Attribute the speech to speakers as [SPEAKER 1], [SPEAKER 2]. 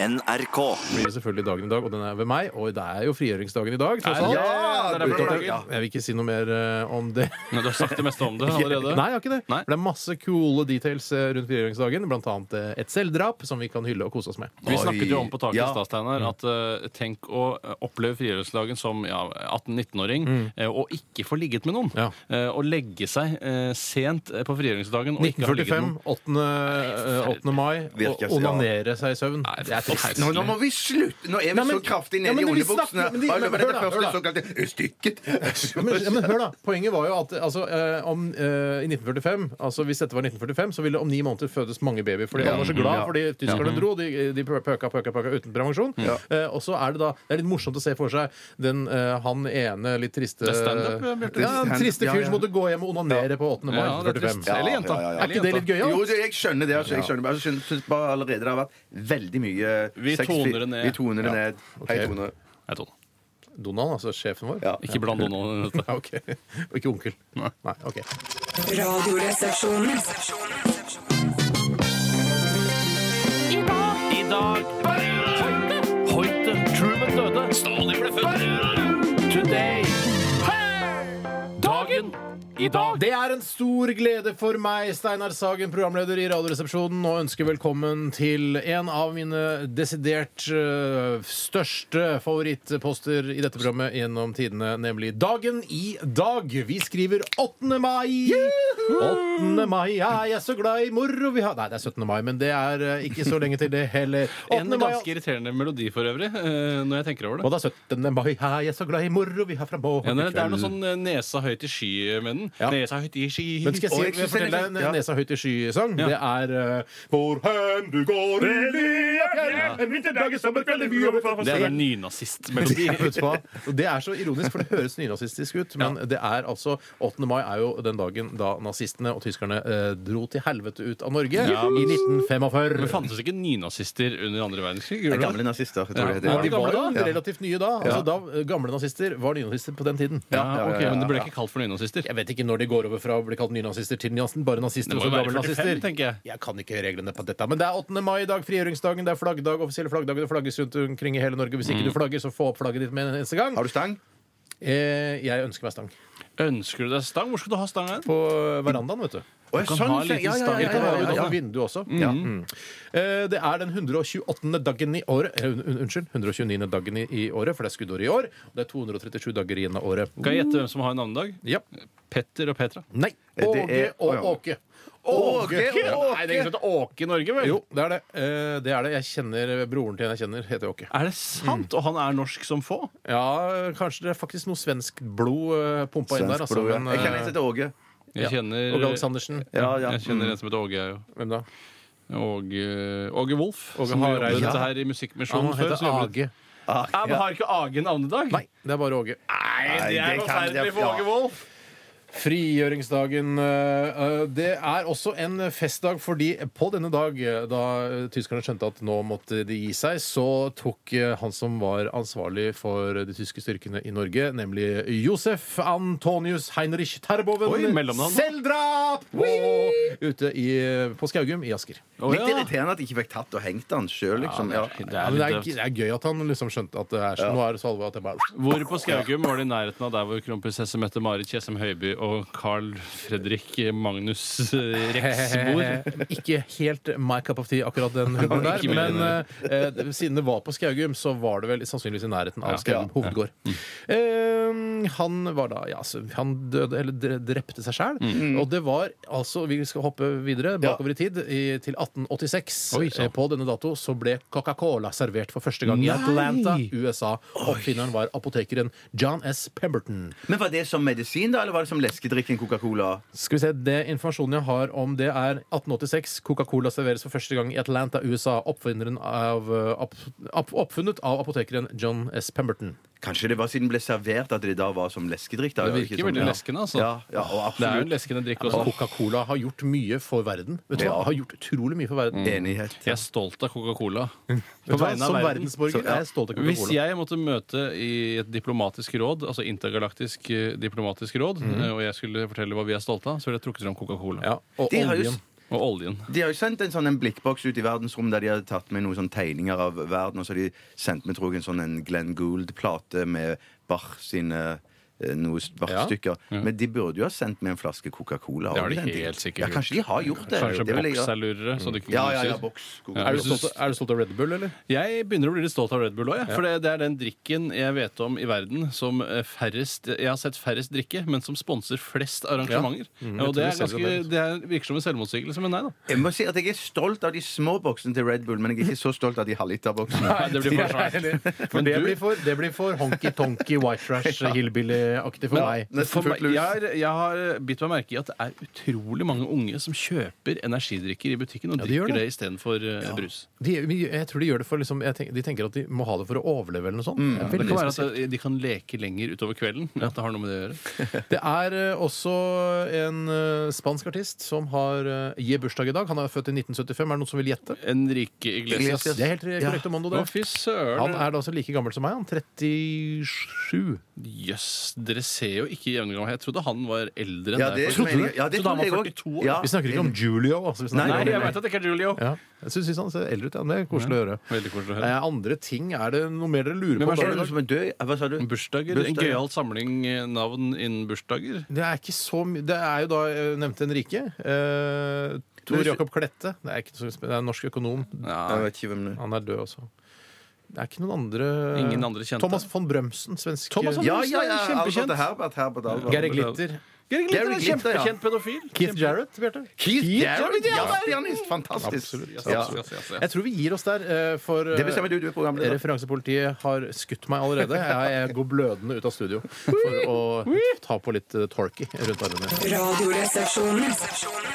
[SPEAKER 1] NRK.
[SPEAKER 2] blir det selvfølgelig dagen i dag, og den er ved meg. Og det er jo frigjøringsdagen i dag. tross
[SPEAKER 3] Er det-
[SPEAKER 2] alt.
[SPEAKER 3] Ja, det er derfor det er dagen.
[SPEAKER 2] Jeg vil ikke si noe mer eh, om det.
[SPEAKER 3] Nei, Du har sagt det meste om det allerede.
[SPEAKER 2] Nei, jeg har ikke det.
[SPEAKER 3] Nei.
[SPEAKER 2] Men det er masse coole details eh, rundt frigjøringsdagen. Blant annet eh, et selvdrap som vi kan hylle og kose oss med.
[SPEAKER 3] Vi snakket jo om på taket i
[SPEAKER 1] Ja.
[SPEAKER 3] stad, Steinar,
[SPEAKER 2] Mm.
[SPEAKER 3] at eh, tenk å eh, oppleve frigjøringsdagen som ja, 18-19-åring eh, og ikke få ligget med noen.
[SPEAKER 2] Mm. Ja.
[SPEAKER 3] Eh, og legge seg eh, sent eh, på frigjøringsdagen og ikke ha ligget med
[SPEAKER 2] 1945,
[SPEAKER 3] noen.
[SPEAKER 2] 8. eh, 8. mai. Og
[SPEAKER 1] Virkelig, ja.
[SPEAKER 2] onanere seg i søvn.
[SPEAKER 3] Nei,
[SPEAKER 2] Det er trist.
[SPEAKER 4] Nå, nå må vi slutte! Nå er vi
[SPEAKER 2] Nei, men-
[SPEAKER 4] så kraftig
[SPEAKER 2] Ja,
[SPEAKER 4] nede
[SPEAKER 2] men
[SPEAKER 4] i
[SPEAKER 2] vi snakker-
[SPEAKER 4] oljebuksene.
[SPEAKER 2] men de-
[SPEAKER 4] Oi,
[SPEAKER 2] men
[SPEAKER 4] det var
[SPEAKER 2] hør
[SPEAKER 4] dette
[SPEAKER 2] da,
[SPEAKER 4] første
[SPEAKER 2] hør
[SPEAKER 4] såkalte stykket.
[SPEAKER 2] Ja, Men, ja, men hør da, Poenget var jo at altså, eh, om, eh, i 1945 altså Hvis dette var 1945, så ville det om ni måneder fødes mange babyer. Fordi alle var så glad fordi tyskerne dro. De, de pøka, pøka, pøka uten prevensjon. Eh, og så er det da Det er litt morsomt å se for seg den eh, han ene litt triste
[SPEAKER 3] Det er stand-up, eh, Bjarte.
[SPEAKER 2] Ja, den triste
[SPEAKER 4] Ja,
[SPEAKER 2] fyr
[SPEAKER 4] ja.
[SPEAKER 2] som måtte gå hjem og onanere på 8. mai
[SPEAKER 3] Ja, det er
[SPEAKER 2] 1945.
[SPEAKER 3] trist. Eller jenta.
[SPEAKER 4] Ja, ja, ja.
[SPEAKER 2] Er ikke det litt gøy?
[SPEAKER 4] Jo,
[SPEAKER 2] Ja?
[SPEAKER 4] det- jeg skjønner det. Altså, jeg skjønner bare, jeg synes bare allerede det har vært veldig mye
[SPEAKER 3] Vi
[SPEAKER 4] sex-
[SPEAKER 3] toner det ned.
[SPEAKER 4] Vi toner det ned. Hei,
[SPEAKER 2] Ok.
[SPEAKER 4] Tone.
[SPEAKER 3] Nei, Tone.
[SPEAKER 2] Donald, altså sjefen vår?
[SPEAKER 4] Ja.
[SPEAKER 3] Ikke bland noen av dette.
[SPEAKER 2] Ja, ok. Og ikke onkel.
[SPEAKER 3] Nei.
[SPEAKER 2] Nei, ok.
[SPEAKER 5] Radioresepsjonen.
[SPEAKER 3] I dag Hoite. Truman døde. Stalin ble født. Today. Dagen i dag.
[SPEAKER 2] Det er en stor glede for meg, Steinar Sagen, programleder i Radioresepsjonen, og ønsker velkommen til en av mine desidert øh, største favorittposter i dette programmet gjennom tidene, nemlig Dagen i dag. Vi skriver 8. mai! 8. mai er jeg så glad i moro vi har Nei, det er 17. mai, men det er øh, ikke så lenge til det heller. 8.
[SPEAKER 3] En
[SPEAKER 2] mai
[SPEAKER 3] ganske irriterende melodi for øvrig, eh, når jeg tenker over det.
[SPEAKER 2] og da 17. mai er jeg så glad i moro vi har fra morgen
[SPEAKER 3] Ja, det, er-
[SPEAKER 2] til
[SPEAKER 3] det er noe
[SPEAKER 2] kveld.
[SPEAKER 3] sånn eh, nesa høyt i sky eh, med den.
[SPEAKER 2] Ja.
[SPEAKER 3] Nesa høyt i sky.
[SPEAKER 2] Men skal
[SPEAKER 4] Og
[SPEAKER 2] jeg,
[SPEAKER 4] jeg
[SPEAKER 2] si, jeg
[SPEAKER 4] synes
[SPEAKER 2] fortelle
[SPEAKER 4] det er
[SPEAKER 2] deg en
[SPEAKER 4] litt- ja.
[SPEAKER 2] Nesa høyt i sky-sang? Det er eh, Hvor hen du går i lia fjell, en vinterdag i sommerkveld i by over fra
[SPEAKER 3] det er
[SPEAKER 2] Fasen.
[SPEAKER 3] en nynazistmelodi.
[SPEAKER 2] Ja, vet du hva? Og Det er så ironisk, for det høres nynazistisk ut. Men det er altså 8. mai er jo den dagen da nazistene og tyskerne eh, dro til helvete ut av Norge i
[SPEAKER 3] Men
[SPEAKER 2] 1945.
[SPEAKER 3] fantes ikke nynazister under andre verdenskrig? gjorde
[SPEAKER 4] Det er
[SPEAKER 3] det?
[SPEAKER 4] gamle nazister. jeg
[SPEAKER 3] Ja.
[SPEAKER 4] tror det
[SPEAKER 2] Men
[SPEAKER 4] heter.
[SPEAKER 2] de var jo
[SPEAKER 3] gamle da?
[SPEAKER 2] relativt nye da. Altså, da eh, gamle nazister var nynazister på den tiden.
[SPEAKER 3] Ja, ok, Men det ble ikke kalt for nynazister.
[SPEAKER 2] Jeg vet ikke når de går over fra å bli kalt nynazister til nynazister. Bare nazister og
[SPEAKER 3] Det
[SPEAKER 2] så
[SPEAKER 3] må jo være
[SPEAKER 2] gamle
[SPEAKER 3] 45,
[SPEAKER 2] nazister.
[SPEAKER 3] tenker jeg.
[SPEAKER 2] Jeg kan ikke reglene på dette. Men det er 8. mai i dag, frigjøringsdagen, det er flaggdag, offisielle flaggdager, det flagges rundt omkring i hele Norge. Hvis ikke du flagger, så få opp flagget ditt med en eneste gang.
[SPEAKER 4] Mm. Har du stang?
[SPEAKER 2] Eh, jeg ønsker meg stang.
[SPEAKER 3] Ønsker du deg stang? Hvor skal du ha stang? hen?
[SPEAKER 2] På verandaen, vet du.
[SPEAKER 4] Å, ja,
[SPEAKER 3] kan
[SPEAKER 4] sånn,
[SPEAKER 3] ha en
[SPEAKER 4] ja,
[SPEAKER 3] liten
[SPEAKER 4] ja, ja,
[SPEAKER 3] stang.
[SPEAKER 4] ja,
[SPEAKER 2] Kan
[SPEAKER 4] ja,
[SPEAKER 2] være
[SPEAKER 4] ja,
[SPEAKER 2] utenfor
[SPEAKER 4] ja.
[SPEAKER 2] vinduet også. Ja. Mm. Eh, Det er den 128. dagen i året eh, un- un- Unnskyld, 129. dagen i, i året, for det er skuddår i år. Og det er 237 dager igjen av året.
[SPEAKER 3] Kan jeg gjette hvem som har navnedag?
[SPEAKER 2] Ja.
[SPEAKER 3] Petter og Petra.
[SPEAKER 2] Nei.
[SPEAKER 4] Eh, Det
[SPEAKER 2] Åge
[SPEAKER 4] er-
[SPEAKER 2] og
[SPEAKER 4] Å, ja.
[SPEAKER 2] Åke.
[SPEAKER 4] Åge!
[SPEAKER 3] Nei, det er
[SPEAKER 4] sånn
[SPEAKER 3] ingen som heter Åke i Norge, vel?
[SPEAKER 2] Jo, det er det. Eh, Det er det. Jeg kjenner broren til en jeg kjenner, heter Åke.
[SPEAKER 3] Er det sant? Og han er norsk som få?
[SPEAKER 2] Ja, kanskje det er faktisk noe svensk blod eh, pumpa inn der. Altså,
[SPEAKER 4] Blod, ja.
[SPEAKER 2] men,
[SPEAKER 4] Jeg kan hete Åge.
[SPEAKER 3] Jeg kjenner
[SPEAKER 2] Åge Aleksandersen.
[SPEAKER 4] Ja, ja.
[SPEAKER 3] eh, Jeg kjenner en som heter Åge, jeg jo.
[SPEAKER 2] Hvem da?
[SPEAKER 3] Åge, Åge Wolff.
[SPEAKER 2] Åge
[SPEAKER 3] som
[SPEAKER 2] Hareide.
[SPEAKER 3] jobbet dette
[SPEAKER 2] Ja.
[SPEAKER 3] her i
[SPEAKER 2] Han
[SPEAKER 3] Musikkmisjonen før.
[SPEAKER 2] heter
[SPEAKER 3] så jobbet-
[SPEAKER 2] Age.
[SPEAKER 3] Ja, men har ikke Age navnedag?
[SPEAKER 2] Nei, det er bare Åge.
[SPEAKER 3] Nei, det
[SPEAKER 4] Nei,
[SPEAKER 3] er
[SPEAKER 4] det kan-
[SPEAKER 3] forferdelig
[SPEAKER 4] det-
[SPEAKER 3] for Åge
[SPEAKER 4] ja.
[SPEAKER 3] Wolff.
[SPEAKER 2] Frigjøringsdagen. eh, eh, Det er også en festdag fordi på denne dag, eh, da eh, tyskerne skjønte at nå måtte de gi seg, så tok eh, han som var ansvarlig for de tyske styrkene i Norge, nemlig Josef Antonius Heinrich Terboven,
[SPEAKER 3] Oi, mellomnavn.
[SPEAKER 2] selvdrap Og ute i, eh, på Skaugum i Asker.
[SPEAKER 3] Å,
[SPEAKER 4] Litt
[SPEAKER 3] ja.
[SPEAKER 4] irriterende at jeg ikke fikk tatt og hengt han sjøl, liksom. Ja.
[SPEAKER 3] Det
[SPEAKER 2] Ja,
[SPEAKER 3] er
[SPEAKER 2] men det,
[SPEAKER 3] litt
[SPEAKER 2] er, det er gøy at han liksom skjønte at det er sånn. Nå er det så alvorlig at det bare
[SPEAKER 3] Hvor på Skaugum var det i nærheten av der hvor kronprinsesse Mette-Marit Tjessem Høiby og Carl Fredrik Magnus eh, Rex bor?
[SPEAKER 2] Ikke helt my cup of tea, akkurat den humoren der.
[SPEAKER 3] Ikke mer
[SPEAKER 2] Men eh, eh, siden det var på Skaugum, så var det vel sannsynligvis i nærheten av Skaugum hovedgård.
[SPEAKER 3] Mm.
[SPEAKER 2] Eh, han var da Ja, så han døde, eller dre- drepte seg sjæl.
[SPEAKER 3] Mm.
[SPEAKER 2] Og det var altså Vi skal hoppe videre bakover i tid, i, til 1886.
[SPEAKER 3] Oi, så.
[SPEAKER 2] Eh, På denne dato så ble Coca-Cola servert for første gang i
[SPEAKER 3] Nei!
[SPEAKER 2] Atlanta, USA. Oppfinneren var apotekeren John S. Pemberton.
[SPEAKER 4] Men var det som medisin, da, eller var det som leskedrikken Coca-Cola?
[SPEAKER 2] Skal vi se, det Informasjonen jeg har om det, er 1886. Coca-Cola serveres for første gang i Atlanta, USA. Oppfinneren av, eh, opp, opp, oppfunnet av apotekeren John S. Pemberton.
[SPEAKER 4] Kanskje det var siden det ble servert at det da var som leskedrikk? Da,
[SPEAKER 3] Det
[SPEAKER 4] eller ikke
[SPEAKER 3] virker
[SPEAKER 4] som-
[SPEAKER 3] veldig
[SPEAKER 4] ja.
[SPEAKER 3] leskende, altså.
[SPEAKER 4] Ja, ja, og
[SPEAKER 3] Det er jo
[SPEAKER 4] absolutt.
[SPEAKER 3] en leskende drikk
[SPEAKER 2] Altså,
[SPEAKER 3] også.
[SPEAKER 2] Coca-Cola har gjort mye for verden. Vet du hva?
[SPEAKER 4] Ja. Mm.
[SPEAKER 2] Har gjort utrolig mye for verden.
[SPEAKER 4] Enighet.
[SPEAKER 3] Jeg er stolt av Coca-Cola.
[SPEAKER 2] Vet du hva? Som
[SPEAKER 3] verden.
[SPEAKER 2] verdensborger er jeg stolt av
[SPEAKER 3] Hvis
[SPEAKER 2] Coca-Cola.
[SPEAKER 3] jeg måtte møte i et diplomatisk råd, altså intergalaktisk Mhm. eh, diplomatisk råd, eh, og jeg skulle fortelle hva vi er stolte av, så ville jeg trukket fram Coca-Cola.
[SPEAKER 2] Ja, og
[SPEAKER 4] De har jo
[SPEAKER 2] oljen.
[SPEAKER 4] s-
[SPEAKER 3] Og oljen.
[SPEAKER 4] De har jo sendt en sånn en blikkboks ut i verdensrommet der de har tatt med noen sånne tegninger av verden. Og så har de sendt med tror jeg, en sånn en Glenn Gould-plate med Bach sine eh, noen Bach-stykker. Men de burde jo ha sendt med en flaske Coca-Cola.
[SPEAKER 3] Det har de
[SPEAKER 4] den tiden.
[SPEAKER 3] helt sikkert
[SPEAKER 4] Ja, kanskje de har gjort det.
[SPEAKER 3] Kanskje
[SPEAKER 4] det vil jeg
[SPEAKER 3] boks
[SPEAKER 4] gjøre.
[SPEAKER 3] er lurere. Så det ikke
[SPEAKER 4] ja, ja, ja,
[SPEAKER 3] knuses.
[SPEAKER 4] boks.
[SPEAKER 3] Ja,
[SPEAKER 2] Er du,
[SPEAKER 3] jeg synes-
[SPEAKER 2] stolt, er du stolt av Red Bull, eller?
[SPEAKER 3] Jeg begynner å bli litt stolt av Red Bull òg, jeg. For det- det er den drikken jeg vet om i verden som eh, færrest Jeg har sett færrest drikke, men som sponser flest arrangementer. og Mm. det,
[SPEAKER 2] jeg
[SPEAKER 3] er
[SPEAKER 2] tror det
[SPEAKER 3] ganske, det er, virker som en selvmotsigelse, men nei da.
[SPEAKER 4] Jeg må si at jeg er stolt av de små boksene til Red Bull, men jeg er ikke så stolt av de halvliterboksene.
[SPEAKER 3] Nei, det blir for svært.
[SPEAKER 2] For
[SPEAKER 3] Men
[SPEAKER 2] det
[SPEAKER 3] du-
[SPEAKER 2] blir for, det blir for honky-tonky, white trash, hillbilly-aktig for meg.
[SPEAKER 4] nesten
[SPEAKER 3] For meg,
[SPEAKER 4] fullt lus.
[SPEAKER 3] jeg, har, jeg har eh, bitt meg merke i at det er utrolig mange unge som kjøper energidrikker i butikken og
[SPEAKER 2] Ja, de gjør
[SPEAKER 3] drikker det,
[SPEAKER 2] det.
[SPEAKER 3] istedenfor eh, brus.
[SPEAKER 2] De, jeg tror de gjør det for liksom, jeg tenk, De tenker at de må ha det for å overleve eller noe sånt. Det er
[SPEAKER 3] Det
[SPEAKER 2] veldig
[SPEAKER 3] kan være
[SPEAKER 2] spesielt.
[SPEAKER 3] at eh, de kan leke lenger utover kvelden. At det har noe med det å gjøre.
[SPEAKER 2] Det er eh, også en eh, spansk artist som har eh, gir bursdag i dag. Han er født i 1975. Er det noen som vil gjette?
[SPEAKER 3] Enrique Iglesias.
[SPEAKER 2] Det er helt korrekt, Mondo.
[SPEAKER 3] Å,
[SPEAKER 2] Det.
[SPEAKER 3] fy søren.
[SPEAKER 2] Han er da altså like gammel som meg. Han 37.
[SPEAKER 3] Jøss, dere ser jo ikke jevngamle. Jeg trodde han var eldre enn
[SPEAKER 4] Ja,
[SPEAKER 3] deg.
[SPEAKER 4] det
[SPEAKER 3] faktisk.
[SPEAKER 4] mener jeg- ja, det
[SPEAKER 3] Så da
[SPEAKER 4] trodde
[SPEAKER 3] er man
[SPEAKER 4] jeg
[SPEAKER 3] 42 år.
[SPEAKER 4] også. Ja.
[SPEAKER 2] Vi snakker ikke om Julio. Altså, vi snakker
[SPEAKER 4] Nei,
[SPEAKER 3] Nei,
[SPEAKER 2] om-
[SPEAKER 3] jeg vet at det ikke er Julio.
[SPEAKER 2] ja. Jeg syns han ser eldre ut. Ja. Det er koselig å høre.
[SPEAKER 3] Veldig koselig å høre.
[SPEAKER 2] Eh, andre ting, er det noe mer dere lurer
[SPEAKER 3] Men
[SPEAKER 2] på?
[SPEAKER 3] hva
[SPEAKER 4] Er
[SPEAKER 2] Bare-
[SPEAKER 4] det noen som er død? Hva sa du?
[SPEAKER 3] Bursdager. En
[SPEAKER 4] Bursdager.
[SPEAKER 3] gøyal samling eh, navn innen bursdager.
[SPEAKER 2] Det er ikke så mye Det er jo da jeg nevnte Henrike. Eh, Tor
[SPEAKER 4] Men hvis-
[SPEAKER 2] Jakob Klette. Det er, ikke så, spen- det er en norsk økonom.
[SPEAKER 4] Jeg
[SPEAKER 3] Ja.
[SPEAKER 4] vet ikke hvem det er.
[SPEAKER 2] Han er død også. Det er ikke noen andre
[SPEAKER 3] Ingen andre kjente.
[SPEAKER 2] Thomas von Brømsen, svensk
[SPEAKER 3] Thomas von-
[SPEAKER 2] Ja. altså,
[SPEAKER 4] Ja, ja, ja.
[SPEAKER 3] Kjempekjent.
[SPEAKER 4] Albert Herbert, Herbert Albert.
[SPEAKER 2] Gary Glitter.
[SPEAKER 3] Gary Glitter er en
[SPEAKER 4] Glitter, ja.
[SPEAKER 3] kjempekjent pedofil.
[SPEAKER 2] Keith Jarrett, Bjarte.
[SPEAKER 4] Keith Jarrett,
[SPEAKER 2] Jarrett,
[SPEAKER 4] ja,
[SPEAKER 2] ja,
[SPEAKER 4] pianist. Fantastisk.
[SPEAKER 2] Absolutt.
[SPEAKER 3] Yes,
[SPEAKER 4] Ja.
[SPEAKER 3] yes, yes, yes, yes.
[SPEAKER 2] Jeg tror vi gir oss der, eh, for eh,
[SPEAKER 4] Det bestemmer du, du er programleder.
[SPEAKER 2] Referansepolitiet har skutt meg allerede. Jeg, jeg går blødende ut av studio for å ta på litt eh, torky rundt armene.
[SPEAKER 5] Radioresepsjonen.